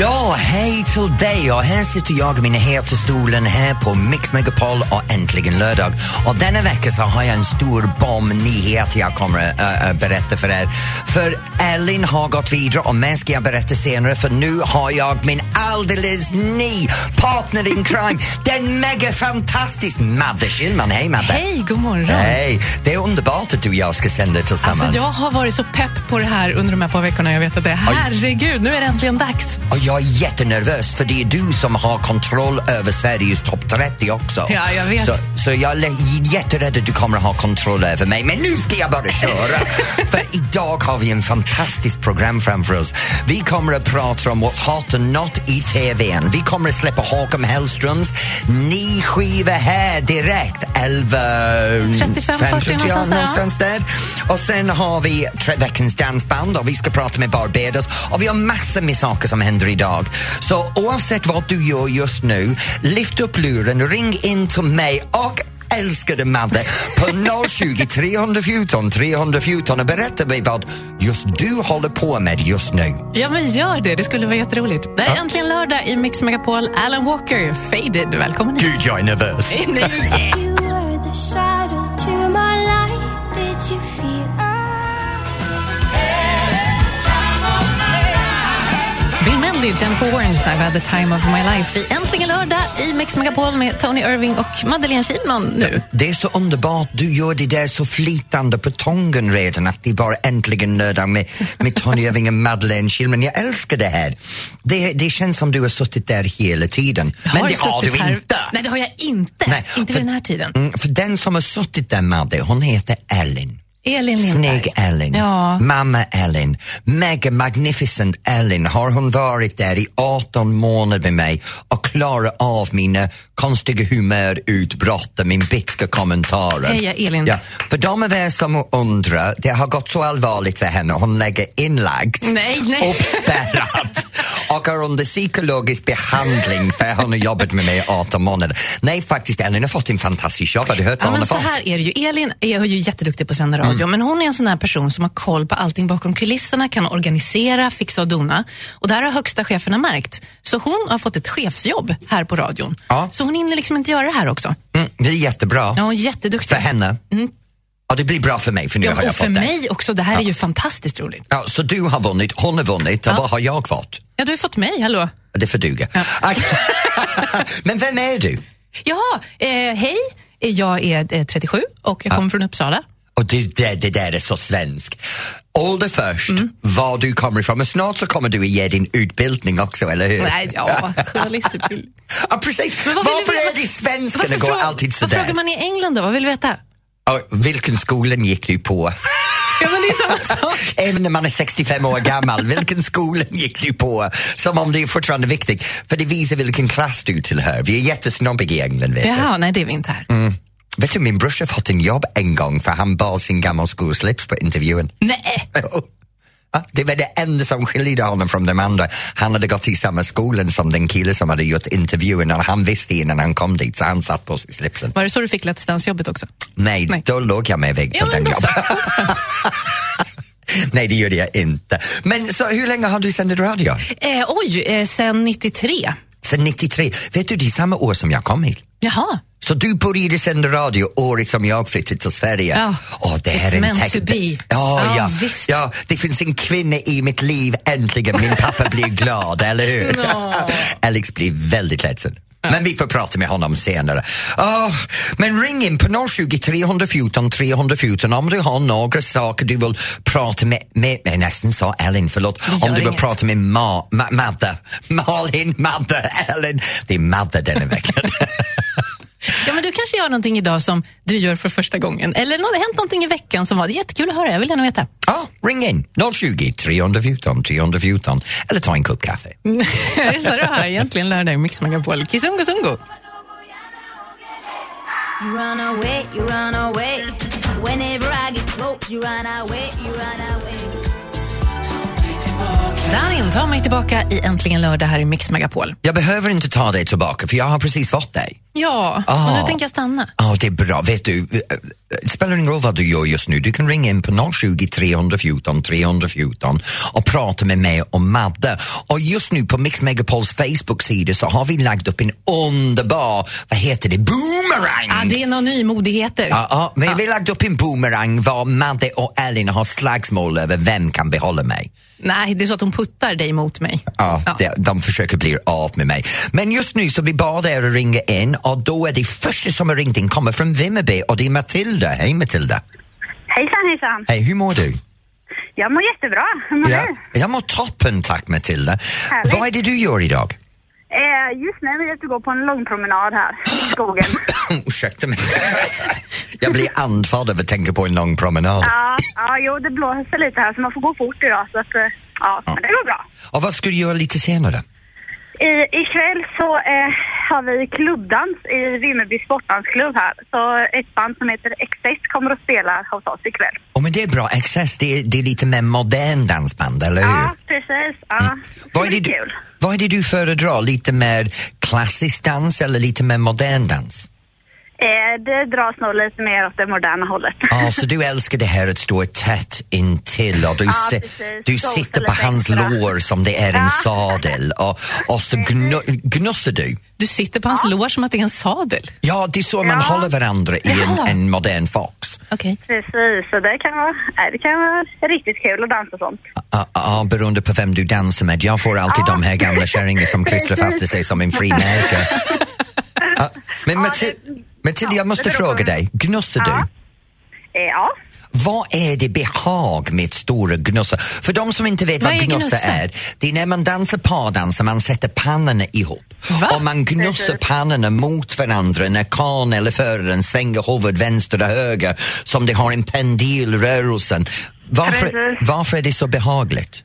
Ja, hej till dig och här sitter jag i min heta stolen här på Mix Megapol och äntligen lördag. Och denna vecka så har jag en stor bombnyhet jag kommer att äh, berätta för er. För Elin har gått vidare och mer ska jag berätta senare för nu har jag min alldeles ny partner in crime, den mega fantastisk Madde Kihlman. Hej Madde! Hej, god morgon. Hej! Det är underbart att du och jag ska sända tillsammans. Alltså, jag har varit så pepp på det här under de här par veckorna. Jag vet att det är herregud, nu är det äntligen dags. Och jag är jättenervös för det är du som har kontroll över Sveriges topp 30 också. Ja, jag vet. Så, så jag är lä- jätterädd att du kommer att ha kontroll över mig. Men nu ska jag bara köra! för idag har vi en fantastisk program framför oss. Vi kommer att prata om What's hot and not i TVn. Vi kommer att släppa Håkan Hellströms ny skiva här direkt. 11... 35, 40 ja, någonstans där, ja. någonstans där. Och sen har vi tre veckans dansband och vi ska prata med Barbados och vi har massor med saker som händer idag. Så oavsett vad du gör just nu, lyft upp luren, ring in till mig och älskade Madde på 020 314 314 och berätta mig vad just du håller på med just nu. Ja, men gör det. Det skulle vara jätteroligt. Det här är äntligen lördag i Mix Megapol. Alan Walker, Faded. Välkommen hit. Gud, jag är nervös. Nej. You were the shadow to my light. Did you feel Bill Medley, Jennifer Warnes, I've had the time of my life. I Äntligen lördag i Mix Megapol med Tony Irving och Madeleine Kihlman nu. Det är så underbart, du gör det där så flytande på tången redan att det är bara äntligen lördag med, med Tony Irving och Madeleine Kilman. Jag älskar det här. Det, det känns som du har suttit där hela tiden. Men Har det har suttit du här- inte. Nej, det har jag inte. Nej, inte för- vid den här tiden. Mm, för den som har suttit där, Madde, hon heter Ellen. Elin Lindberg. Snygg Ellen, Ja. mamma Ellen, mega magnificent Ellen. Har hon varit där i 18 månader med mig och klarat av mina konstiga humörutbrott och min bitska kommentarer? Heja, Elin. Ja, för de av er som undrar, det har gått så allvarligt för henne, hon lägger inlagd, Nej, nej. uppspärrad och är under psykologisk behandling för hon har jobbat med mig i 18 månader. Nej, faktiskt, Ellen har fått en fantastisk jobb. Har du hört vad Ja, hon men har så fått? här är det ju. Elin är ju jätteduktig på att sända radio, Mm. men hon är en sån här person som har koll på allting bakom kulisserna, kan organisera, fixa och dona. Och det här har högsta cheferna märkt. Så hon har fått ett chefsjobb här på radion. Ja. Så hon hinner liksom inte göra det här också. Mm, det är jättebra. Ja, hon är jätteduktig. för henne. Ja, det blir bra för mig för nu Mm. Ja, har jag och för fått det. mig också. Det här är ju fantastiskt roligt. Ja, så du har vunnit, hon har vunnit och vad har jag fått? Ja, du har fått mig, hallå. Det får duga. Okej. Men vem är du? Jaha, eh, hej. Eh, Jag är eh, 37 och jag kommer från Uppsala. Och det, det, det där är så svenskt. Ålder först, Mm. var du kommer ifrån. Men snart så kommer du att ge din utbildning också, eller hur? Nej, ja, journalistutbildning. Ja, precis. Men vad vill Varför du veta? är det svenskarna Varför går fråga- alltid Vad sådär? frågar man i England då? Vad vill du veta? Ja, vilken skolan gick du på? Ja, men det är samma sak. Även när man är 65 år gammal, vilken skola gick du på? Som om det är fortfarande viktigt, för det visar vilken klass du tillhör. Vi är jättesnobbiga i England, vet du. Jaha, nej det är vi inte här. Vet du, min brorsa har fått en jobb en gång för han bar sin gammal skolslips på intervjun. Nej, Ja, Det var det enda som skilde honom från de andra. Han hade gått i samma skolan som den killen som hade gjort intervjun och han visste innan han kom dit så han satt på sig slipsen. var det så du fick distansjobbet också? Nej, Nej. då låg jag med vägg på den då så. jobben. Nej, det gjorde jag inte. Men så hur länge har du sänt radio? Eh, oj, eh, sen 93. Sen 93. Vet du, det är samma år som jag kom hit. Jaha. Så du började sända radio året som jag flyttade till Sverige? Ja. Åh, det här It's är en meant text- to be. Ja, Ja, ja. visst. ja, det finns en kvinna i mitt liv äntligen. Min pappa blir glad, eller hur? Nå. Alex blir väldigt ledsen. Men vi får prata med honom senare. Åh, men ring in på 020 314 314 om du har några saker du vill prata med, med jag nästan sa Ellen, förlåt, Det om gör du vill inget. prata med Ma, Ma, Madde, Malin, Madde, Ellen. Det är Madde denna veckan. Ja, men du kanske gör någonting idag som du gör för första gången. Eller nå- det har hänt någonting i veckan som var jättekul att höra. Jag vill gärna veta. Ja, ring in 020 314 314 eller ta en kopp kaffe. det är så det här egentligen lördag i Mix Megapol. Kizungo Zungo. You run away, you run away. Whenever I get close, you run away, you run away. Darin, ta mig tillbaka i Äntligen lördag här i Mix Megapol. Jag behöver inte ta dig tillbaka för jag har precis fått dig. Ja, Ah. och nu tänker jag stanna. Ja, det är bra. Vet du, eh, det spelar ingen roll vad du gör just nu. Du kan ringa in på 020 314 314 och prata med mig och Madde. Och just nu på Mix Megapols Facebook-sida så har vi lagt upp en underbar, vad heter det, boomerang! Ah, det är några nymodigheter. Ja, ja, men vi har lagt upp en boomerang var Madde och Elin har slagsmål över vem kan behålla mig. Nej, det är så att hon puttar dig mot mig. Ja, det- De försöker bli av med mig. Men just nu så vi bad er att ringa in och då är det första som har ringt in kommer från Vimmerby och det är Matilda. Hej Matilda! Hejsan hejsan! Hej, hur mår du? Jag mår jättebra. Hur mår du? Jag mår toppen tack Matilda. Härligt. Vad är det du gör idag? Eh, just nu är jag ute och går på en lång promenad här i skogen. Ursäkta mig. jag blir andfådd av att tänka på en lång promenad. ja, ja, jo det blåser lite här så man får gå fort idag så att, eh, ja, men det går bra. Och vad ska du göra lite senare? I, ikväll så eh, har vi klubbdans i Vimmerby sportdansklubb här. Så ett band som heter XS kommer att spela hos oss ikväll. Oh, men det är bra, Access, det är, det är lite mer modern dansband, eller hur? Ja, precis. Ja. Mm. Vad är, det blir du, kul. vad är det du föredrar? Lite mer klassisk dans eller lite mer modern dans? Eh, det dras nog lite mer åt det moderna hållet. Ja, så du älskar det här att stå tätt intill och du, Ja, se- precis. du Gosa sitter på lite hans extra. lår som det är en Ja. sadel och, och så gnu- gnussar du. Du sitter på hans lår som att det är en sadel. Ja, det är så man Ja. håller varandra i en, Jaha. en modern fox. Okej. Precis, så det kan, vara, nej, det kan vara riktigt kul att dansa sånt. Ja, ja, beroende på vem du dansar med. Jag får alltid Ja. de här gamla kärringarna som klistrar fast i sig som en frimärke. Ja, men Ja, Matil- det- Matilda, jag ja, måste det beror på fråga vem- dig, gnussar du? Ja. Eh, ja. Vad är det behag med ett stora gnussa? För de som inte vet vad, Vad är gnussa gnussa? är, det är när man dansar pardans och man sätter pannorna ihop. Va? Och man gnussar pannorna mot varandra när karln eller föraren svänger huvudet vänster och höger som det har en pendilrörelsen. Varför, Precis. varför är det så behagligt?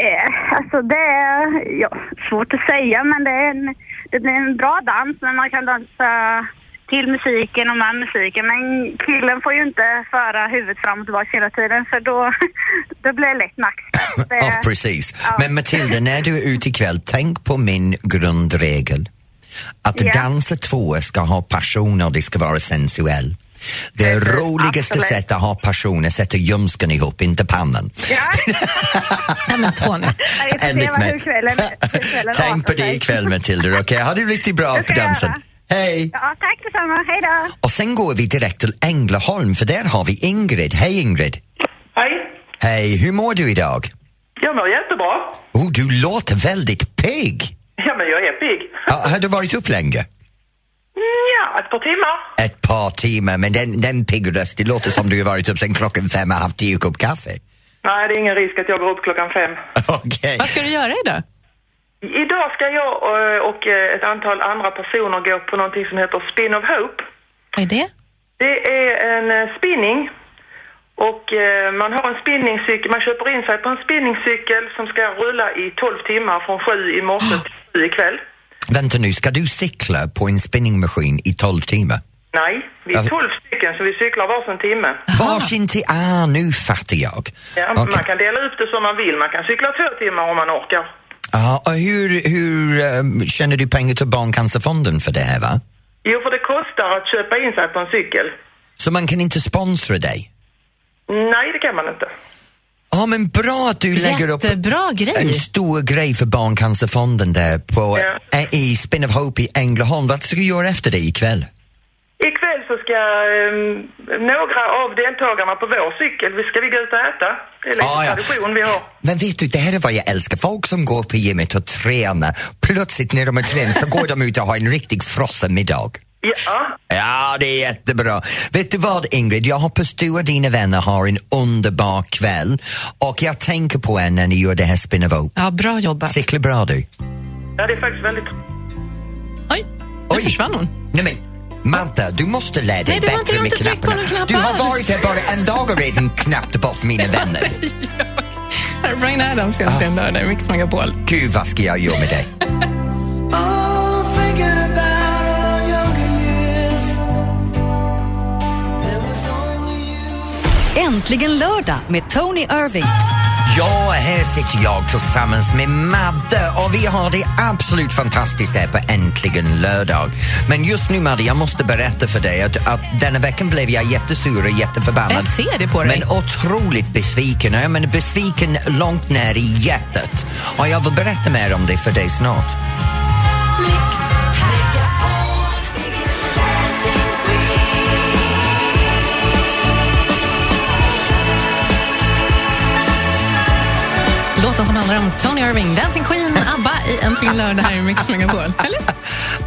Eh, alltså det är ja, svårt att säga men det är, en, det är en bra dans men man kan dansa till musiken och med musiken men killen får ju inte föra huvudet fram och tillbaka hela tiden för då, då blir det lätt nackspärr. Det- Ja, precis. Eh, ja. Men Matilda, när du är ute ikväll, tänk på min grundregel. Att Ja. dansa två ska ha passion och det ska vara sensuell. Det Precis, roligaste absolut. sättet att ha passion är att sätta ljumsken ihop, inte pannan. Ja, Nej men Tony. vi får se Enligt vad- mig. hur kvällen, hur kvällen Tänk på artar det sig. ikväll Matilda, okej? Ha det riktigt bra Det på ska jag dansen. göra. Hej! Ja, tack detsamma. Hej då. Och sen går vi direkt till Änglaholm för där har vi Ingrid. Hej Ingrid! Hej, Hej, hur mår du idag? jag mår jättebra. Oh, du låter väldigt pigg! Ja, men jag är pigg. Ja, har du varit upp länge? Ja, ett par timmar. Ett par timmar, men den, den pigg röst, det låter som du har varit upp sen klockan fem och haft tio kopp kaffe. Nej, det är ingen risk att jag går upp klockan fem. Okej. Vad ska du göra idag? Idag ska jag eh, och eh, ett antal andra personer gå på någonting som heter Spin of Hope. Vad är det? Det är en eh, spinning. Och eh, man har en spinningcykel, man köper in sig på en spinningcykel som ska rulla i 12 timmar från sju i morse till sju ikväll. Vänta nu, ska du cykla på en spinningmaskin i tolv timmar? Nej, vi är 12 stycken så vi cyklar varsin timme. Varsin till... Ah, nu fattar jag. Ja, Okej. Man kan dela upp det som man vill, man kan cykla två timmar om man orkar. Ja, och hur, hur ehm, känner du pengar till Barncancerfonden för det här, va? Jo, för det kostar att köpa in sig på en cykel. Så man kan inte sponsra dig? Nej, det kan man inte. Ja, men bra att du lägger upp Jättebra en grej. stor grej för Barncancerfonden där på, Ja. eh, i Spin of Hope i Ängelholm. Vad ska du göra efter det ikväll? Ikväll så ska ehm, några av deltagarna på vår cykel, vi ska vi gå ut och äta. Det är lite Ah, ja. tradition vi har. Men vet du, det här är vad jag älskar. Folk som går på gymmet och tränar, plötsligt när de är tränade så går de ut och har en riktig frossamiddag. Ja, Ja, det är jättebra. Vet du vad Ingrid, jag hoppas du och dina vänner har en underbar kväll och jag tänker på er när ni gör det här spin of hope. Ja, bra jobbat. Cykla bra du. ja det är faktiskt väldigt... Oj, nu Oj. försvann hon. Nej men, Madde, du måste lära dig Nej, du har inte- bättre jag har med inte tryckt på knapparna. någon knapp du har alls. varit här bara en dag och redan knappt bort mina vänner. Här är Brian Adams egentligen, ah. där, Mix Megapol. Gud, vad ska jag göra med dig? Äntligen lördag med Tony Irving. Ja, här sitter jag tillsammans med Madde och vi har det absolut fantastiskt här på Äntligen lördag. Men just nu Madde, jag måste berätta för dig att, att denna veckan blev jag jättesur och jätteförbannad. Jag ser det på dig. Men otroligt besviken. Jag menar besviken långt ner i hjärtat. Och jag vill berätta mer om det för dig snart. Låten som handlar om Tony Irving, Dancing Queen, ABBA i Äntligen lördag här i Mix Megapol. Eller?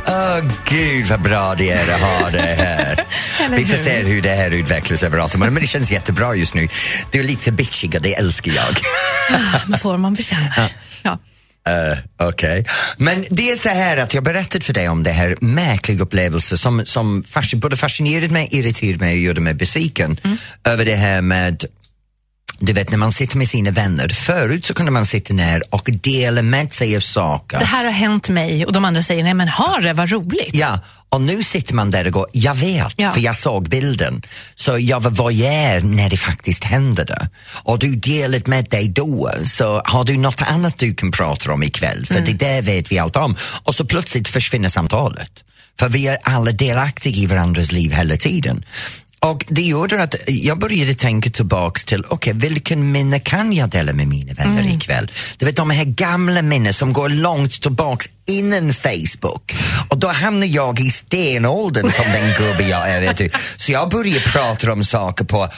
Åh gud vad bra det är att ha det här. Eller Vi får hur? se hur det här utvecklas över året. Men det känns jättebra just nu. Du är lite bitchig och det älskar jag. Man får vad man förtjänar. Ja. Eh, Okej. Men det är så här att jag berättat för dig om det här märkliga upplevelsen som, som fasc- både fascinerade mig, irriterade mig och gjorde mig besviken Mm. över det här med du vet när man sitter med sina vänner, förut så kunde man sitta ner och dela med sig av saker. Det här har hänt mig och de andra säger nej men har det, vad roligt. Ja, och nu sitter man där och går, jag vet, Ja. för jag såg bilden. Så jag var voyeur när det faktiskt hände. Då. Och du delat med dig då, så har du något annat du kan prata om ikväll? För det där vet vi allt om. Och så plötsligt försvinner samtalet. För vi är alla delaktiga i varandras liv hela tiden. Och det gjorde att jag började tänka tillbaks till, okej, vilken minne kan jag dela med mina vänner Mm. ikväll? Du vet de här gamla minnen som går långt tillbaks innan Facebook. Och då hamnar jag i stenåldern som den gubbe jag är, vet du. Så jag började prata om saker på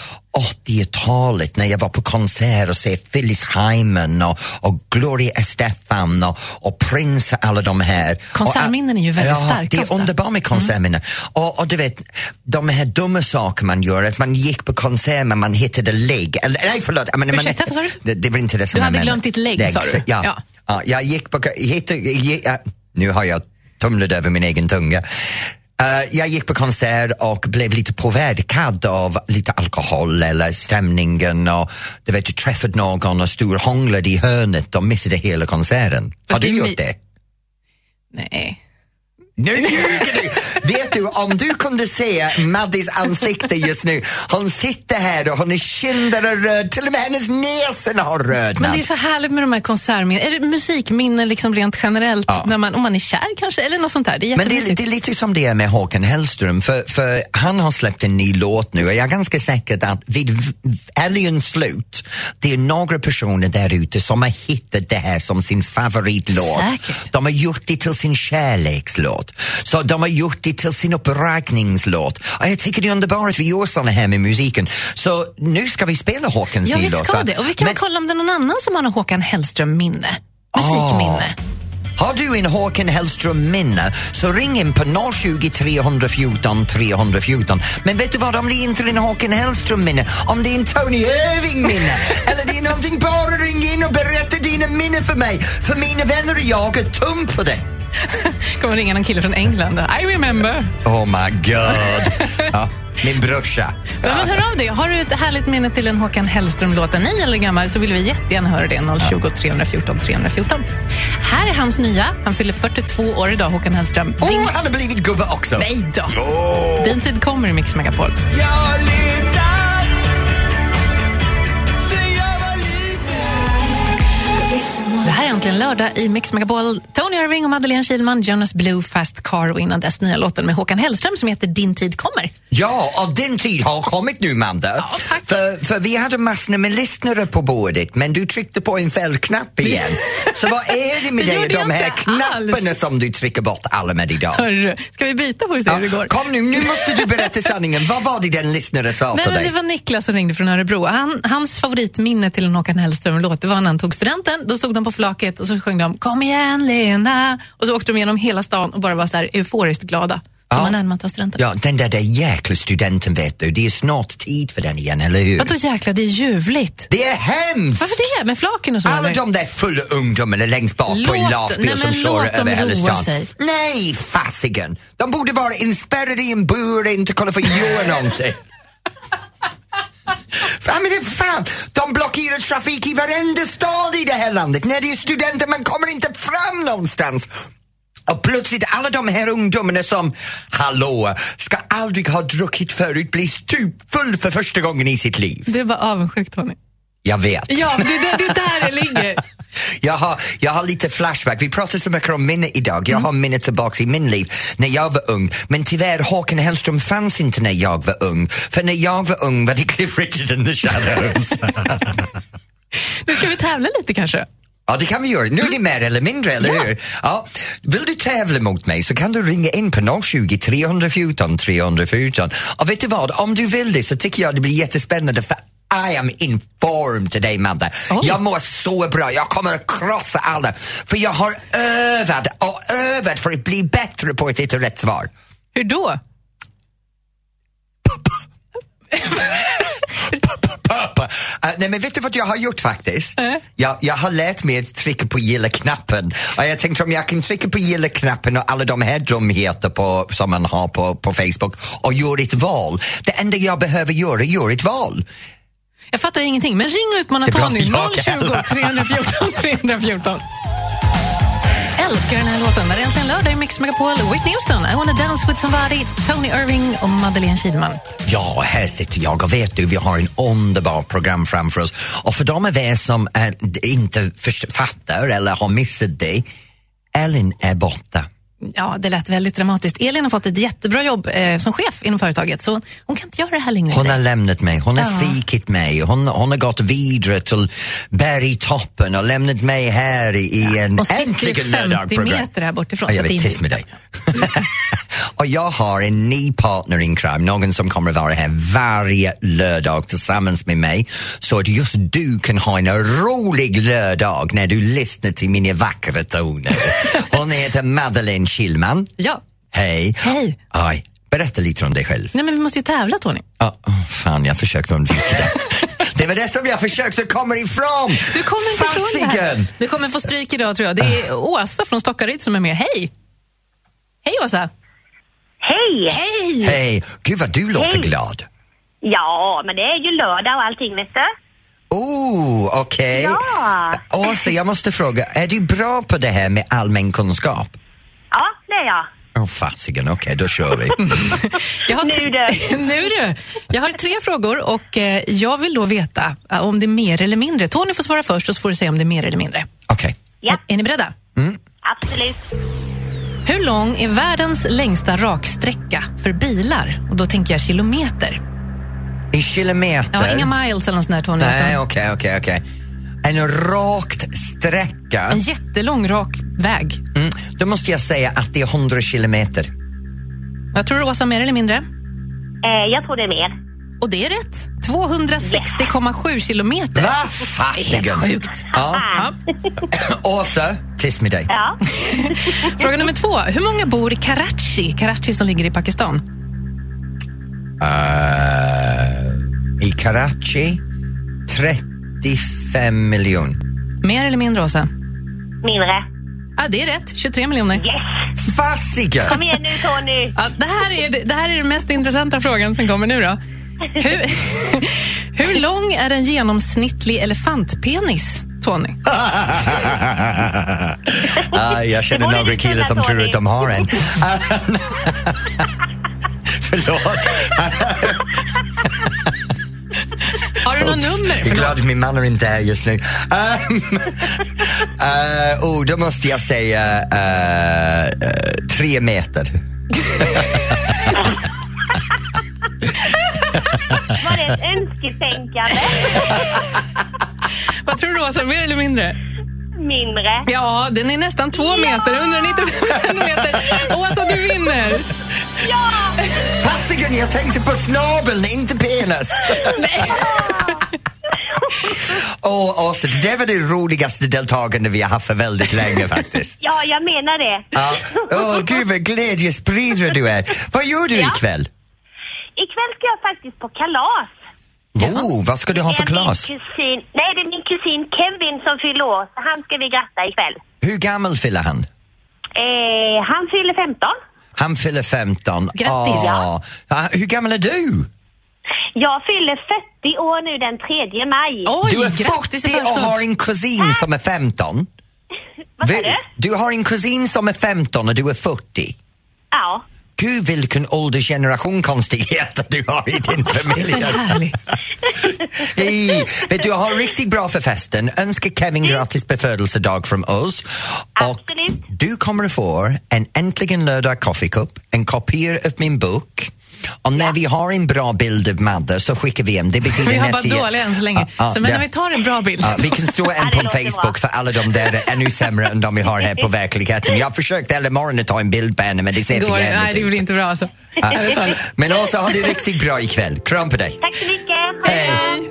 80-talet när jag var på konsert och såg Phyllis Hyman och, och Gloria Estefan och, och Prince och alla de här. Konsertminnen är ju väldigt ja, starka det är ofta. underbart med konsertminnen. Och, och du vet, de här dumma saker man gör, att man gick på konsert men man hittade lägg. Eller, nej, förlåt. jag menar, man- Ursäkta, vad sa du? det, det var inte det som Du jag hade menar. glömt ditt lägg, sa du? Ja. Ja. ja. jag gick på... Hittade, ge- ja, nu har jag tumlat över min egen tunga. Eh, jag gick på konsert och blev lite påverkad av lite alkohol eller stämningen och du vet, jag träffade någon och storhånglade i hörnet och missade hela konserten. Har Fast du det är gjort mi- det? Nej. Nu ljuger du! Vet du, om du kunde se Maddis ansikte just nu. Hon sitter här och hennes kinder är röd, till och med hennes näsen har Men det är rödnat. så härligt med de här konsertminnen, eller musikminnen liksom rent generellt, Ja. när man, om man är kär kanske, eller något sånt där. Det är Men det är, jättemysigt. det är lite som det är med Håkan Hellström, för, för han har släppt en ny låt nu och jag är ganska säker att vid v- helgens slut, det är några personer där ute som har hittat det här som sin favoritlåt. Säkert. De har gjort det till sin kärlekslåt. Så de har gjort det till sin uppräkningslåt. Och jag tycker det är underbart att vi gör såna här med musiken. Så nu ska vi spela Håkans Ja, nya vi låt. ska va? det. Och vi kan Men väl kolla om det är någon annan som har någon Håkan Hellström-minne. Musikminne. Har du en Håkan Hellström-minne så ring in på 020 314 314. Men vet du vad, om det inte är en Håkan Hellström-minne, om det är en Tony Irving-minne eller det är någonting, bara ring in och berätta dina minnen för mig. För mina vänner och jag är tum på det. Kommer ringa någon kille från England. I remember. Oh my god. Ja, min brorsa. Ja, men hör av dig. Har du ett härligt minne till en Håkan Hellström-låt, en ny eller gammal, så vill vi jättegärna höra det. 020 314 314. Här är hans nya. Han fyller 42 år idag, Håkan Hellström. Åh, Din... han har blivit gubbe också. Nej då! Din tid kommer i Mix Megapol. Det här är äntligen lördag i Mix Megapol. Tony Irving och Madeleine Kilman, Jonas Blue, Fast Car och innan dess nya låten med Håkan Hellström som heter Din tid kommer. Ja, och din tid har kommit nu, Manda. tack. för, för vi hade massor med lyssnare på bordet, men du tryckte på en fel knapp igen. Så vad är det med Det dig och gjorde jag de här inte knapparna alls. som du trycker bort alla med idag? Hörru, ska vi byta på och se hur det går? kom nu, nu måste du berätta sanningen. Vad var det den lyssnare sa Nej, till men det dig? var Niklas som ringde från Örebro. Han, hans favoritminne till en Håkan Hellström-låt det var när han tog studenten. Då stod de på flaket och så sjöng de Kom igen Lena! Och så åkte de genom hela stan och bara var så här euforiskt glada. Som Ja. man är när man tar studenten. Ja, den där, där jäkla studenten vet du, det är snart tid för den igen, eller hur? Vadå jäkla, det är ljuvligt. Det är hemskt! Varför det? Med flaken och så? Alla eller? de där fulla ungdomarna längst bak på en Låt- lastbil nej, som men kör låt dem över hela roa stan. sig. Nej, fasiken! De borde vara inspärrade i en bur och inte kunna få göra någonting. Ja, men det är fan, de blockerar trafik i varenda stad i det här landet. När det är studenter, man kommer inte fram någonstans. Och plötsligt alla de här ungdomarna som, hallå, ska aldrig ha druckit förut blir stupfull för första gången i sitt liv. Det var avundsjukt, Tony. Jag vet. Ja, det, det, det är där det ligger. Jag har, jag har lite flashback. Vi pratar så mycket om minne idag. Jag har minne tillbaka i min liv när jag var ung. Men tyvärr, Håkan Hellström fanns inte när jag var ung. För när jag var ung var det Cliff Richard and the Shadows. Nu ska vi tävla lite kanske. ja, det kan vi göra. Nu är det mer eller mindre, eller hur? Ja. Vill du tävla mot mig så kan du ringa in på 020 314 314. Och vet du vad, om du vill det så tycker jag det blir jättespännande för I am in form today, Madde. Jag mår så bra. Jag kommer att krossa alla. För jag har övat och övat för att bli bättre på att hitta rätt svar. Hur då? Pappa. Eh, nej men vet du vad jag har gjort faktiskt? Jag, jag har lärt mig att trycka på gilla-knappen. Och jag tänkte om jag kan trycka på gilla-knappen och alla de här dumheter på, som man har på, på Facebook och göra ett val. Det enda jag behöver göra är göra ett val. Jag fattar ingenting, men ring och utmana Det är bra Tony. 020 jag heller. 314 314. Älskar den här låten. Det är äntligen lördag i Mix Megapol. Whitney Houston, I wanna dance with somebody, Tony Irving och Madeleine Kihlman. Ja, här sitter jag och vet du, vi har en underbar program framför oss. Och för de av er som eh, inte först- fattar eller har missat det, Ellen är borta. Ja, det lät väldigt dramatiskt. Elin har fått ett jättebra jobb eh, som chef inom företaget, så hon kan inte göra det här längre. Hon har lämnat mig, hon har Ja. svikit mig, hon, hon har gått vidare till bergtoppen och lämnat mig här i i en och sitter äntligen 50 lördagprogram. meter här bortifrån. Ja, så jag att det vill är tiss med dig. och jag har en ny partner in crime, någon som kommer att vara här varje lördag tillsammans med mig så att just du kan ha en rolig lördag när du lyssnar till mina vackra toner. Hon heter Madeleine Kilman. Ja. Hej. Hej. Aj, berätta lite om dig själv. Nej, men vi måste ju tävla, Tony. Ja, åh, fan, jag försökte undvika det. Det var det som jag försökte komma ifrån! Du kommer inte ifrån det här. Fasiken! Du kommer få stryk idag, tror jag. Det är Åsa från Stockaryd som är med. Hej! Hej, Åsa! Hej! Hej! Hej, gud vad du låter Hej. glad. Ja, men det är ju lördag och allting, vet du. Oh, okej. Ja. Åsa, jag måste fråga, är du bra på det här med allmän kunskap? Ja, det är jag. Åh, fasiken, okej, då kör vi. Jag har Nu du. nu du! Jag har tre frågor och eh, jag vill då veta eh, om det är mer eller mindre. Tony får svara först och så får du säga om det är mer eller mindre. Okej. Ja, Är, är ni beredda? Mm. absolut. Hur lång är världens längsta raksträcka för bilar? Och då tänker jag kilometer. I kilometer? Ja, inga miles eller något sånt där, Tony. Nej, utan okej, okej, okej. En rakt sträcka? En jättelång rak väg. Mm, då måste jag säga att det är 100 kilometer. Jag tror Åsa mer eller mindre. Eh, jag tror det är mer. Och det är rätt. 260,7 kilometer. Det Va är helt fasiken! sjukt. Ja. Ah. Åsa, tyst med dig. Ja, Fråga nummer två. Hur många bor i Karachi? Karachi som ligger i Pakistan. Eh, I Karachi, 35 miljoner. Mer eller mindre, Åsa? mindre. Ja, det är rätt. 23 miljoner. Yes! Kom Fasiken! igen nu, Tony. Ja, det, här är, det här är den mest intressanta frågan som kommer nu. då. Hur, hur lång är en genomsnittlig elefantpenis, Tony? ah, jag känner Det var några lite killar som kul, tror att de har en. Förlåt. Har du något nummer? Jag är Förlåt. glad att min man är inte här just nu. Um, eh, oh, då måste jag säga eh, eh, tre meter. Var det ett önsketänkande? Vad tror du, Åsa? Mer eller mindre? Mindre. Ja, den är nästan två meter. 195 centimeter. Åsa, du vinner! Fasiken, jag tänkte på snabeln, inte penis. Åh, Åsa, det där var det roligaste deltagande vi har haft för väldigt länge faktiskt. Ja, jag menar det. Ja. Åh, gud vad glädjespridare du är. Vad gör du Ja. ikväll? Ikväll ska jag faktiskt på kalas. Oh, vad ska du ha för klass? Det är min kusin, nej, det är min kusin Kevin som fyller år. så Han ska vi gratta ikväll. Hur gammal fyller han? Eh, han fyller 15. Han fyller 15. Grattis. Åh. Ah, Hur gammal är du? Jag fyller 40 år nu den 3 maj. Oj, du är grattis i 40 och förskott. har en kusin som är 15. Vad sa Vi- du? Du har en kusin som är 15 och du är 40. Ja. Gud vilken åldersgeneration konstigheter du har i din familj. Det är härligt. Hej! Vet du, jag har riktigt bra för festen. Önskar Kevin Mm. gratis på födelsedag från oss. Absolut. du kommer att få en Äntligen lördag kaffekopp, en kopia av min bok och när vi har en bra bild av Madde så skickar vi en. Det betyder Vi har nästa bara ge- dåliga än så länge. Ja, ja, så men ja. när vi tar en bra bild. Ja, vi kan stå en det på låter Facebook bra. för alla de där är ännu sämre än de vi har här på verkligheten. Jag försökte hela morgonen att ta en bild på henne men det ser Går, för nej, jävligt det ut. blir inte bra alltså. Ja, vi tar det. Men också ha det riktigt bra ikväll. Kram på dig. Tack så mycket. Ha det Hej. bra. Hej,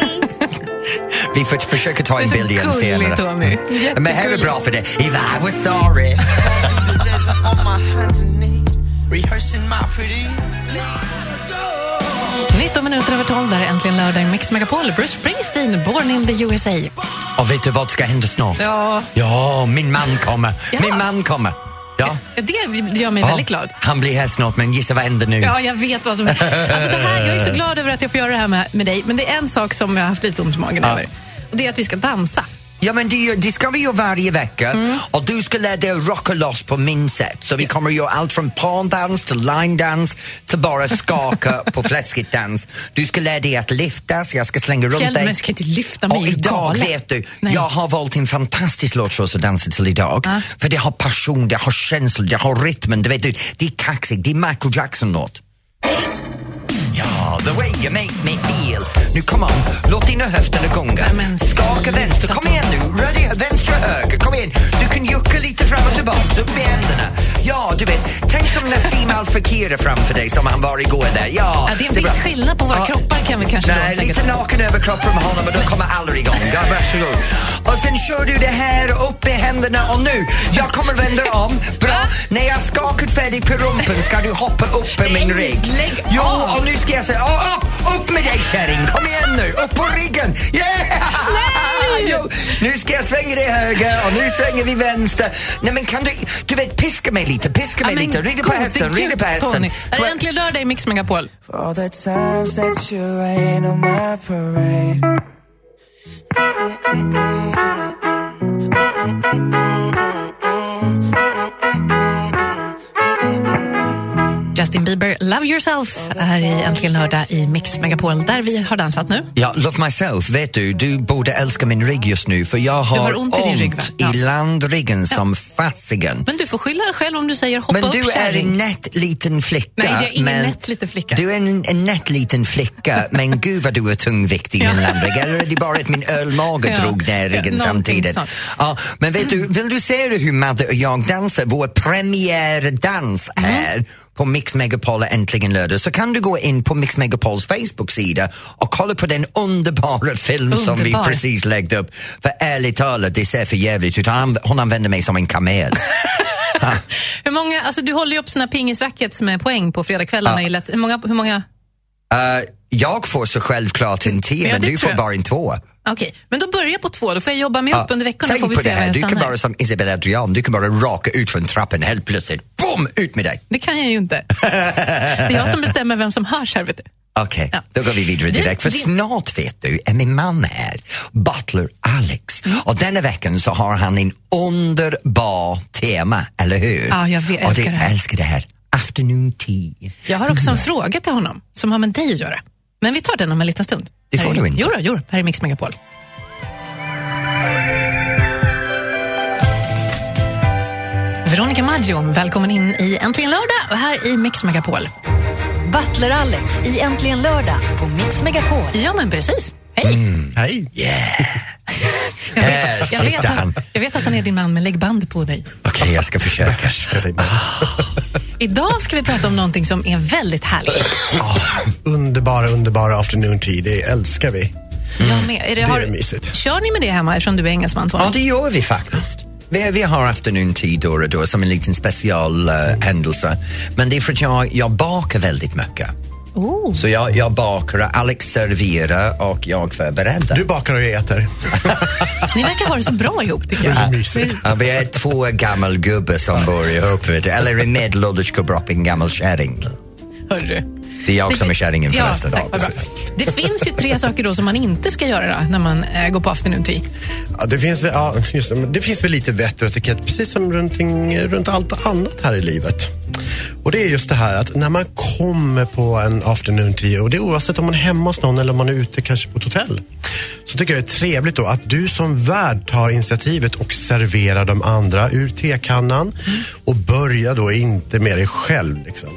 hej. Vi får försöka ta Du en är bild igen så senare. Mm. gullig Tommy. Men här är bra för det. If I was sorry. Rehearsing my pretty 19 minuter över 12, där är äntligen lördag i Mix Megapol. Bruce Springsteen, Born in the USA. Och vet du vad ska hända snart? Ja, Ja, min man kommer. Ja. Min man kommer. Ja. det gör mig Ja, väldigt glad. Han blir här snart, men gissa vad händer nu? Ja, jag vet vad som alltså det här, Jag är så glad över att jag får göra det här med, med dig, men det är en sak som jag har haft lite ont i magen Ja. över. Och det är att vi ska dansa. Ja, men det, gör- det ska vi göra varje vecka Mm. och du ska lära dig att rocka loss på min sätt. Så vi kommer att göra allt från pondans till linedans till bara skaka på fläskigt dans. Du ska lära dig att lyftas, jag ska slänga runt Fjäll, dig. men ska inte lyfta mig Och är du idag galen? vet du, Nej. jag har valt en fantastisk låt för oss att dansa till idag. Ja. För det har passion, det har känsla, det har rytmen. Du vet, du, det är kaxigt, det är Michael Jackson-låt. Ja, the way you make me feel. Nu kom on, låt dina höfter gunga. Nej, men Skaka vänster, kom igen nu. Rör dig vänster och höger, kom igen. Du kan jucka lite fram och tillbaka, upp med händerna. Ja, du vet, tänk som Nassim Al Fakir är framför dig som han var igår där. Ja, Ja, det är en är viss bra. skillnad på våra Ja. kroppar kan vi kanske Nej, då lite tänka. naken överkropp från honom och då kommer alla igång. Ja, varsågod. Och sen kör du det här upp i händerna och nu, jag kommer vända om. Bra. När jag skakat färdigt på rumpen ska du hoppa upp i min Nej, rygg. lägg Jo, av. och nu ska jag säga, oh, upp, upp med dig kärring, kom igen nu, upp på ryggen. Yeah! Nej! Jo, nu ska jag svänga dig höger och nu svänger vi vänster. Nej men kan du, du vet piska mig lite, piska Ja, mig men lite, rida på gode hästen, rida gud, på hästen. Tony. Är det äntligen lördag i Mix Megapol? For all the times that you rain on my parade Justin Bieber, Love Yourself, här i Äntligen lördag i Mix Megapol, där vi har dansat nu. Ja, Love Myself, vet du, du borde älska min rygg just nu för jag har, har ont i din rygg, va? Ja. i landryggen som fasiken. Men du får skylla dig själv om du säger hoppa Men upp du är en kärring. nätt liten flicka. Nej, jag är ingen men- nätt liten flicka. Du är en, en nätt liten flicka, men gud vad du är tungviktig i min landrygg. Eller är det bara att min ölmage Ja. drog ner ryggen Ja, någonting samtidigt? sånt. Ja, men vet du, vill du se hur Madde och jag dansar? Vår premiärdans Mm. här på Mix Megapol är äntligen lördag så kan du gå in på Mix Megapols Facebook-sida och kolla på den underbara film som vi Underbar. precis lagt upp. För ärligt talat, det ser för jävligt ut. Han- Hon använder mig som en kamel. Hur många, alltså du håller ju upp såna pingisrackets med poäng på fredagskvällarna. i lätt- Hur många, hur många? Eh, jag får så självklart en 10 Ja, men det du tror får jag. bara en 2. Okej, men då börjar jag på två. Då får jag jobba mig upp under veckorna. Tänk får vi på se det var här, jag du kan stannar. bara som Isabel Adrian, du kan bara raka ut från trappen helt plötsligt. Boom, ut med dig! Det kan jag ju inte. Det är jag som bestämmer vem som hörs här. Vet du. Okej, Ja. då går vi vidare Du, direkt. För det- snart vet du är min man här, Butler Alex. Mm. Och denna veckan så har han en underbar tema, eller hur? Ja, jag vet- Och älskar det här. älskar det här. Afternoon tea. Jag har också en fråga till honom som har med dig att göra. Men vi tar den om en liten stund. Det Här får är- du inte. Jo, då, jo då, här är Mix Megapol. Veronica Maggio, välkommen in i Äntligen lördag här i Mix Megapol. Butler Alex i Äntligen lördag på Mix Megapol. Ja, men precis. Hej! Mm. Hej! Yeah! Jag Där vet, jag, vet sitter han. att, jag vet att han är din man, men lägg band på dig. Okej, jag ska försöka. Idag ska vi prata om någonting som är väldigt härligt. Underbara, underbara afternoon tea. Det älskar vi. Jag med. Är det, Det har, är mysigt. kör ni med det hemma eftersom du är engelsman, Tony? Ja, det gör vi faktiskt. Vi, vi har afternoon tea då och då som en liten specialhändelse. Men det är för att jag, jag bakar väldigt mycket. Oh. Så jag, jag bakar, Alex serverar och jag förbereder. Du bakar och jag äter. Ni verkar ha det så bra ihop, tycker jag. Så mysigt. Ja, vi är två gammelgubbar som bor ihop. vet du. Eller en medelålders gubbe och en gammal kärring. Hörru. Det är jag som är kärringen ja, förresten. tack, vad bra. Det finns ju tre saker då som man inte ska göra när man eh, går på afternoon tea. Ja, det, finns, väl- ja, just, det, men det finns väl lite vett och etikett, precis som runt, kring- runt allt annat här i livet. Och det är just det här att när man kommer på en afternoon tea och det är oavsett om man är hemma hos någon eller om man är ute kanske på ett hotell. Så tycker jag det är trevligt då att du som värd tar initiativet och serverar de andra ur tekannan Mm. och börjar då inte med dig själv liksom.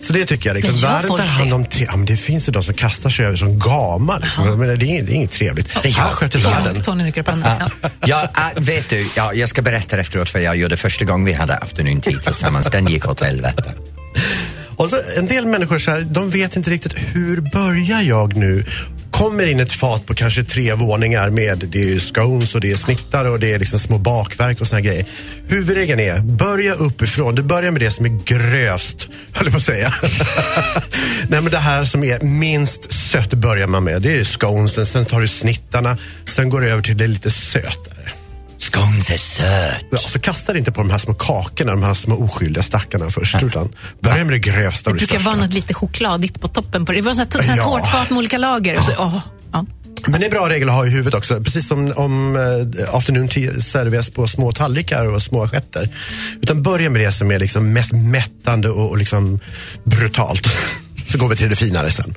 Så det tycker jag liksom. Men gör Värden tar folk hand om te. Ja, men det finns ju de som kastar sig över som gamar liksom. Jag menar, det, är, inget- det är inget trevligt. Det här sköter världen. Tony rycker upp handen. Ja. Ja, äh, vet du, ja, jag ska berätta efteråt vad jag gjorde första gången vi hade afternoon tea tillsammans. Den gick åt helvete. Och så, en del människor så här, de vet inte riktigt hur börjar jag nu? Kommer in ett fat på kanske tre våningar med det är ju scones och det är snittar och det är liksom små bakverk och såna här grejer. Huvudregeln är, börja uppifrån. Du börjar med det som är grövst, höll jag på att säga. Nej men det här som är minst sött börjar man med. Det är sconesen, sen tar du snittarna, sen går du över till det lite sötare. Scones är söt. Ja, så kasta dig inte på de här små kakorna, de här små oskyldiga stackarna först. Utan börja med det Det grövsta och det brukar största. vara något lite chokladigt på toppen. På det. det var sånt här Ja. tårtfat med olika lager. Och så, åh, ja. Men det är bra regel att ha i huvudet också. Precis som om eh, afternoon tea serveras på små tallrikar och små assietter. Utan börja med det som är liksom mest mättande och, och liksom brutalt. Så går vi till det finare sen.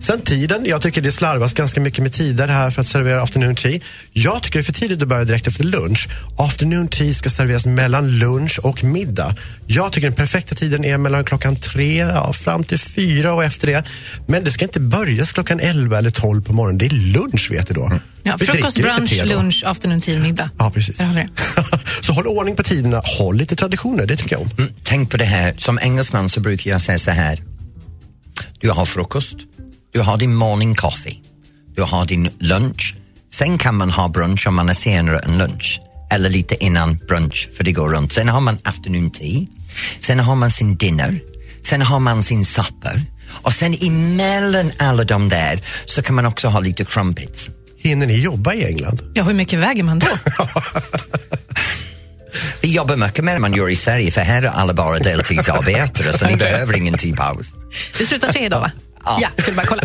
Sen tiden. Jag tycker det slarvas ganska mycket med tider här för att servera afternoon tea. Jag tycker det är för tidigt att börja direkt efter lunch. Afternoon tea ska serveras mellan lunch och middag. Jag tycker den perfekta tiden är mellan klockan tre ja, fram till fyra och efter det. Men det ska inte börjas klockan elva eller tolv på morgonen. Det är lunch vet du då. Ja, Vi frukost, dricker inte brunch, te då. lunch, afternoon tea, middag. Ja, precis. Där har vi det. Så håll ordning på tiderna, håll lite traditioner, det tycker jag om. Mm, tänk på det här, som engelsman så brukar jag säga så här. Du har frukost, du har din morning coffee, du har din lunch. Sen kan man ha brunch om man är senare än lunch eller lite innan brunch för det går runt. Sen har man afternoon tea, sen har man sin dinner, sen har man sin supper och sen emellan alla de där så kan man också ha lite crumpets. Hinner ni jobba i England? Ja, hur mycket väger man då? Vi jobbar mycket mer än man gör i Sverige för här är alla bara deltidsarbetare så ni behöver ingen teapaus. Du slutar tre idag, va? Ja. Ja, skulle bara kolla.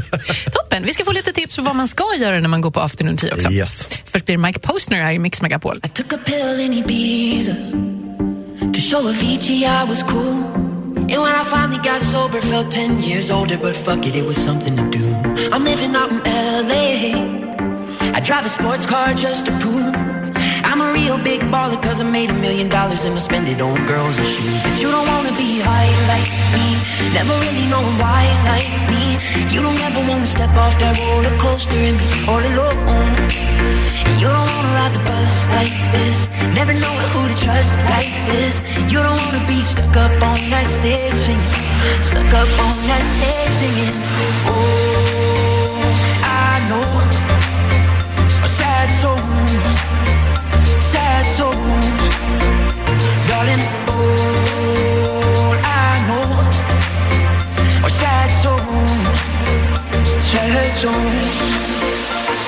Toppen, vi ska få lite tips på vad man ska göra när man går på afternoon tea också. Yes. Först blir det Mike Postner här i Mix Megapol. I took a pill in Ibiza to show Avicii I was cool. And when I finally got sober, felt 10 years older, but fuck it, it was something to do. I'm living out in LA. I drive a sports car just to prove I'm a real big baller, cause I made a million dollars and I spend it on girls and shoes. But you don't wanna be high like me, never really know why like me. You don't ever wanna step off that roller coaster and be all alone. You don't wanna ride the bus like this. Never know who to trust like this. You don't wanna be stuck up on that stage singing. Stuck up on that stage singing. Oh, I know a sad soul, sad souls, darling. All I know are sad souls, sad souls.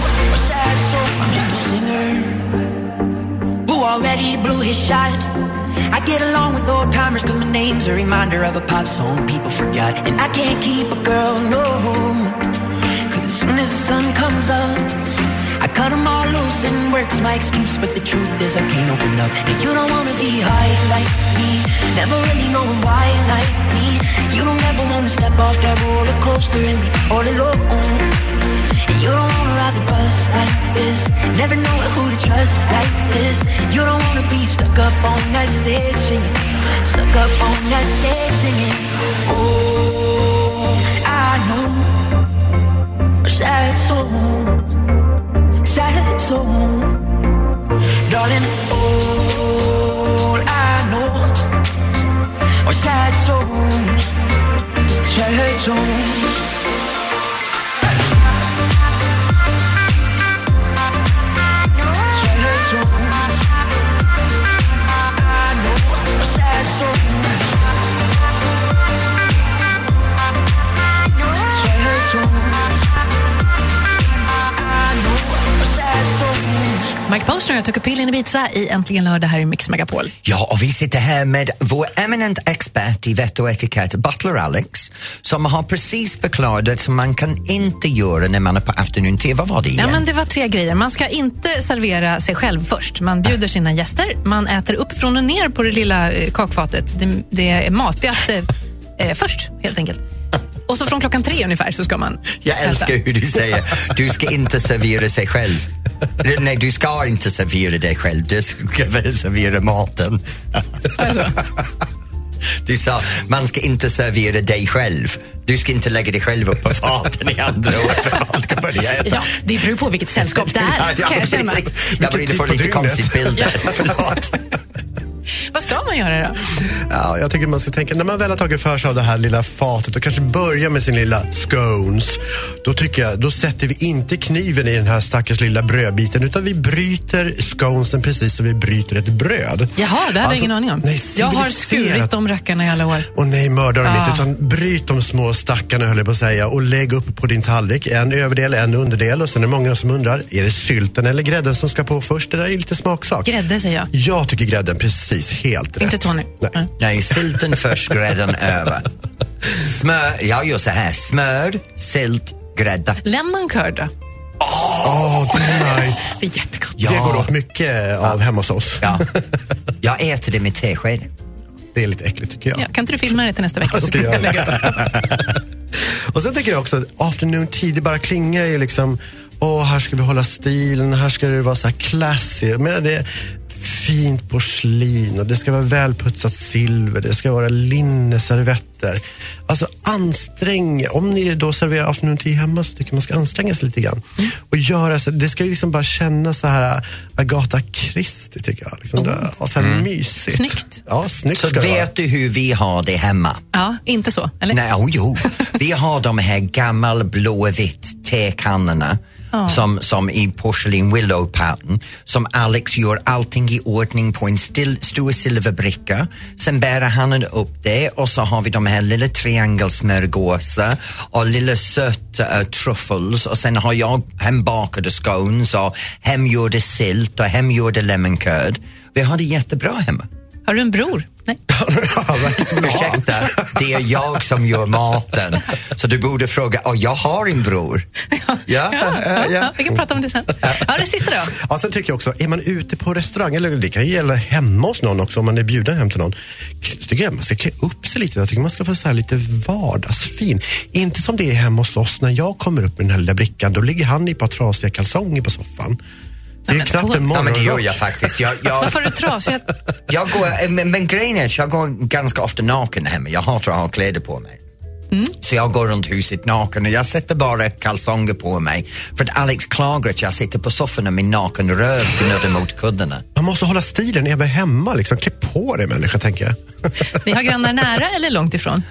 I'm just a singer who already blew his shot. I get along with old timers cause my name's a reminder of a pop song people forgot. And I can't keep a girl, no. Cause as soon as the sun comes up, I cut 'em all loose and work's my excuse. But the truth is I can't open up. And you don't wanna be high like me, never really knowing why like me. You don't ever wanna step off that roller coaster and be all alone. And You don't wanna ride the bus like this. Never know who to trust like this. You don't wanna be stuck up on that stage singing. Stuck up on that stage singing. Oh, I know. Sad souls, sad souls. Darling, all I know are sad souls, sad souls. Mike Mike Postner och jag tog pill in Ibiza i Äntligen lördag här i Mix Megapol. Ja, och vi sitter här med vår eminent expert i vett och etikett, Butler Alex, som har precis förklarat som man kan inte göra när man är på afternoon-te. Vad var det igen? Ja, men det var tre grejer. Man ska inte servera sig själv först. Man bjuder sina gäster, man äter uppifrån och ner på det lilla eh, kakfatet. Det, det är matigaste eh, först, helt enkelt. Och så från klockan tre ungefär så ska man Jag äta. älskar hur du säger, du ska inte servera sig själv. Nej, du ska inte servera dig själv, du ska väl servera maten. Du sa, man ska inte servera dig själv. Du ska inte lägga dig själv upp på faten i andra ord för man ska börja äta. Ja, det beror på vilket sällskap det är, kan jag känna. precis. Jag började få lite konstigt bild där. Förlåt. Vad ska man göra då? Ja, jag tycker man ska tänka, när man väl har tagit för sig av det här lilla fatet och kanske börjar med sin lilla scones, då tycker jag, då sätter vi inte kniven i den här stackars lilla brödbiten, utan vi bryter sconesen precis som vi bryter ett bröd. Jaha, det hade jag Alltså, ingen aning om. Nej, jag har civiliserat. skurit de rackarna i alla år. Och nej, mörda dem Ah. inte, utan bryt de små stackarna höll jag på att säga och lägg upp på din tallrik. En överdel, en underdel och sen är det många som undrar, är det sylten eller grädden som ska på först? Det där är lite smaksak. Grädde säger jag. jag tycker grädden precis helt rätt. Inte Tony. Nej. Nej, sylten först, grädden över. Smör, jag gör så här, smör, sylt, grädde. Lemon curd då? Åh, det är nice. Det är jättegott. Ja. Det går åt mycket av hemma hos oss. Ja. Jag äter det med tesked. Det är lite äckligt tycker jag. Ja, kan inte du filma det till nästa vecka? Jag Så ska kan jag göra lägga upp det. Och sen tycker jag också att afternoon tea, det bara klingar ju liksom, åh, här ska vi hålla stilen, här ska det vara så här classy. Jag menar, det är fint porslin och det ska vara välputsat silver, det ska vara linneservetter. Alltså ansträng, om ni då serverar afternoon tea hemma så tycker jag man ska anstränga sig lite grann. Och göra så, det ska ju liksom bara kännas så här Agatha Christie tycker jag. Liksom, det, och så här mysigt. Snyggt. Ja, snyggt Så ska det vara. vet du hur vi har det hemma? Ja, inte så? Eller? Nej, oh, jo. Vi har de här gammal blåvitt tekannorna som, som i porslin willow pattern som Alex gör allting i ordning på en still, stor silverbricka. Sen bär han upp det och så har vi de här lilla triangelsmörgåsar och lilla söta uh, truffles och sen har jag hembakade scones och hemgjorda sylt och hemgjorda lemon curd. Vi har det jättebra hemma. Har du en bror? Nej. Ja, verkligen. Ursäkta, det är jag som gör maten. Så du borde fråga, oh, jag har en bror. Ja, eh, ja, Ja, ja, ja. vi kan prata om det sen. Ja, det sista då? Ja, sen tycker jag också, är man ute på restaurang, eller det kan ju gälla hemma hos någon också, om man är bjuden hem till någon, så tycker jag man ska klä upp sig lite. Jag tycker man ska vara så här lite vardagsfin. Inte som det är hemma hos oss, när jag kommer upp med den här lilla brickan, då ligger han i ett par trasiga kalsonger på soffan. Det är ju knappt en ja men det gör morgonrock. jag faktiskt. Jag, jag, Varför är du trasig? jag går, eh, men, men grejen är att jag går ganska ofta naken hemma. Jag hatar att ha kläder på mig. Så jag går runt huset naken och jag sätter bara kalsonger på mig. För att Alex klagar att jag sitter på soffan och min naken röv gnuggar mot kuddarna. Man måste hålla stilen även hemma. Liksom. Klä på dig människa, tänker jag. Ni har grannar nära eller långt ifrån?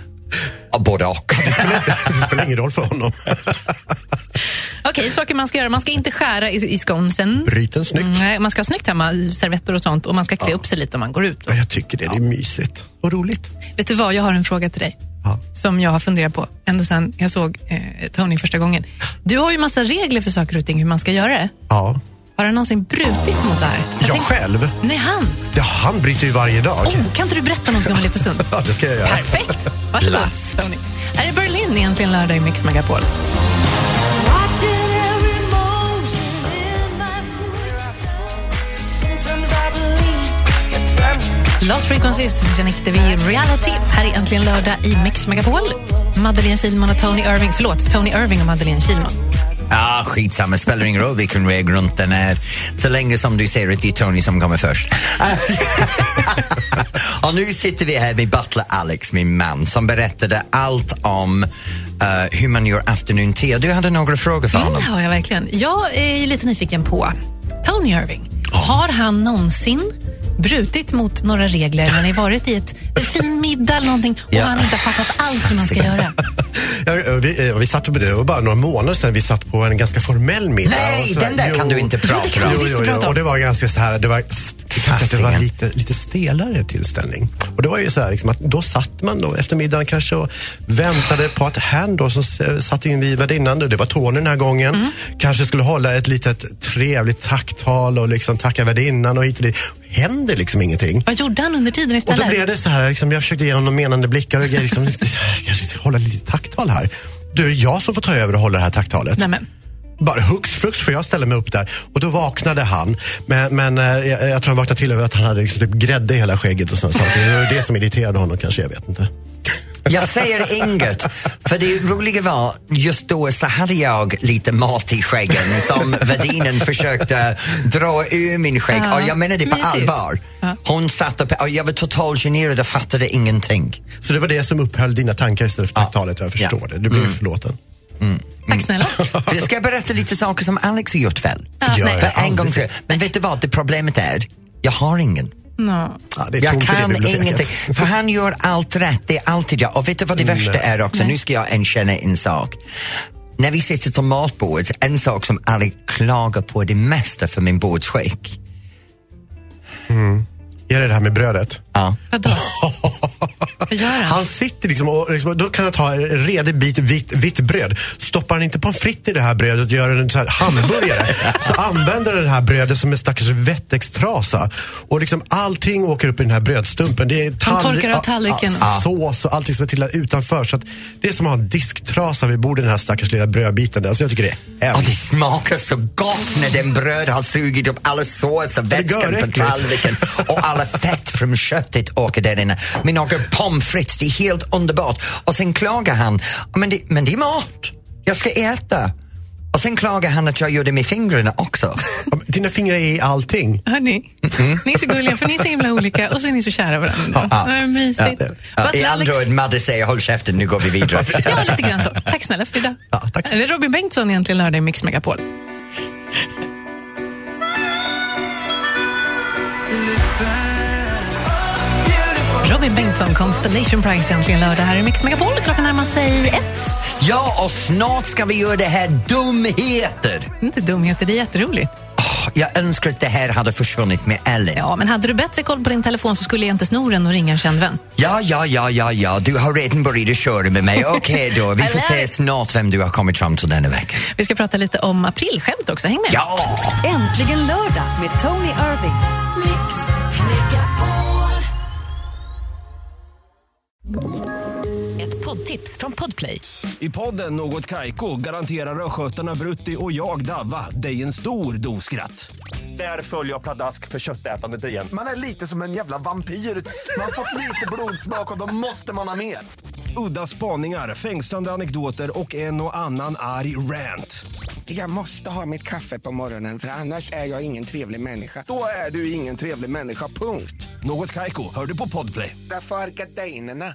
Ja, Både och. Det spelar ingen roll för honom. Okej, saker man ska göra. Man ska inte skära i, i sconesen. Bryt den snyggt. Mm, Nej, man ska ha snyggt hemma, servetter och sånt. Och man ska klä upp sig lite om man går ut. Ja, jag tycker det. Det är mysigt och roligt. Vet du vad, jag har en fråga till dig. Ja. Som jag har funderat på ända sedan jag såg eh, Tony första gången. Du har ju massa regler för saker och ting, hur man ska göra det. Ja. Har han någonsin brutit mot det här? Jag tänkte- själv? Nej, han. Ja, han bryter ju varje dag. Oh, kan inte du berätta någonting om en liten stund? Ja, det ska jag göra. Perfekt! Varsågod, Tony. Här är Berlin egentligen lördag i Mix Megapol. Watching every motion in my Sometimes I believe, at times Lost Frequencies, Yannick DeVir, Reality. Här är äntligen lördag i Mix Megapol. Madeleine Kilman och Tony Irving, förlåt, Tony Irving och Madeleine Kilman. Ah, skitsamma, spelar ingen roll vilken väg runt den är. Så länge som du säger att det är Tony som kommer först. och nu sitter vi här med Butler Alex, min man, som berättade allt om eh, hur man gör afternoon tea. Du hade några frågor för Mm, honom. det har jag verkligen. Jag är ju lite nyfiken på Tony Irving. Har han någonsin brutit mot några regler när ni varit i ett, en fin middag eller någonting och Ja. han inte har fattat alls hur man ska göra? Ja, eh, vi, eh, vi satt på det, det var bara några månader sedan vi satt på en ganska formell middag. Nej, Och så- den där kan du inte Jo. prata kan om. du visst prata om. Och det var ganska så här, det var s- Det kan säga att det var Fasiken. lite, lite stelare tillställning. Och det var ju så här, liksom, att då satt man då eftermiddagen kanske och väntade på att han då som s- satt in vid värdinnan, det var Tony den här gången, Mm. kanske skulle hålla ett litet trevligt tacktal och liksom tacka värdinnan och hit och dit. Händer liksom ingenting. Vad gjorde han under tiden Och istället? då blev det så här, liksom, jag försökte ge honom menande blickar och grejer, liksom, kanske ska hålla lite tacktal här. Du, är det jag som får ta över och hålla det här tacktalet. Nej, men. Bara hux flux får jag ställa mig upp där. Och då vaknade han. Men, men eh, jag, jag tror han vaknade till över att han hade liksom typ grädde i hela skägget och sådana saker. Det var ju det som irriterade honom kanske, jag vet inte. Jag säger inget, för det roliga var just då så hade jag lite mat i skäggen som värdinnan försökte dra ur min skägg Ja, och jag menar det på mysigt. allvar. Hon satt upp, och jag var totalgenerad och fattade ingenting. Så det var det som upphöll dina tankar istället för tacktalet. Jag förstår det. Du blev förlåten. Tack snälla. För jag ska berätta lite saker som Alex har gjort väl. Ja, Gör nej. jag. För en gång till. Men vet du vad, det problemet är, jag har ingen. No. Ja, det är Jag tomt i det kan biblioteket. ingenting. För han gör allt rätt, det är alltid jag. Och vet du vad det Mm. värsta är också? Nu ska jag erkänna en sak. När vi sitter till matbordet, en sak som alla klagar på det mesta för min bordsskick. Är det det här med brödet? Ja. Vadå? Vad gör han? Han sitter liksom och liksom, då kan jag ta en redig bit vitt, vitt bröd. Stoppar han inte pommes frites i det här brödet och gör en så här hamburgare så använder han det här brödet som en stackars vettextrasa. Och liksom allting åker upp i den här brödstumpen. Det är Han tallri- torkar av a- a- tallriken. a- Sås och allting som trillar utanför. Så att det är som att ha en disktrasa vid bordet, den här stackars lilla brödbiten. Där. Så jag tycker det är Och det hemskt. smakar så gott när den bröd har sugit upp alla såser, vätskan på göräckligt. tallriken och alla fett från köttet åker där inne. Med några pommes frites, det är helt underbart. Och sen klagar han, men det, men det är mat, jag ska äta. Och sen klagar han att jag gör det med fingrarna också. Ja, men Dina fingrar är i allting. Hörni, ni är så gulliga för ni är så himla olika och så är ni så kära varandra. Mm. Ja. Ja. Ja. Mysigt. Ja, Butler I Alex- Android, Madde säger håll käften, nu går vi vidare. Ja, lite grann så. Tack snälla för idag. Ja, tack. Är det Robin Bengtsson egentligen hörde i Mix Megapol? Robin Bengtsson, Constellation Prize egentligen lördag här i Mix Megapol. Klockan närmar sig ett. ja, och snart ska vi göra det här dumheter. Inte dumheter, det är jätteroligt. Åh, Jag önskar att det här hade försvunnit med Ellen. Ja, men hade du bättre koll på din telefon så skulle jag inte sno den och ringa en känd vän. Ja, ja, ja, ja, ja, du har redan börjat köra med mig. Okej då, vi I får love se it. snart vem du har kommit fram till denna veckan. Vi ska prata lite om aprilskämt också, häng med. Ja! Äntligen lördag med Tony Irving. Ett poddtips från Podplay. I podden Något Kaiko garanterar östgötarna Brutti och jag, Davva, dig en stor dos skratt. Där följer jag pladask för köttätandet igen. Man är lite som en jävla vampyr. Man har fått lite blodsmak och då måste man ha mer. Udda spaningar, fängslande anekdoter och en och annan arg rant. Jag måste ha mitt kaffe på morgonen för annars är jag ingen trevlig människa. Då är du ingen trevlig människa, punkt. Något Kaiko, hör du på Podplay. Därför arkadeinerna.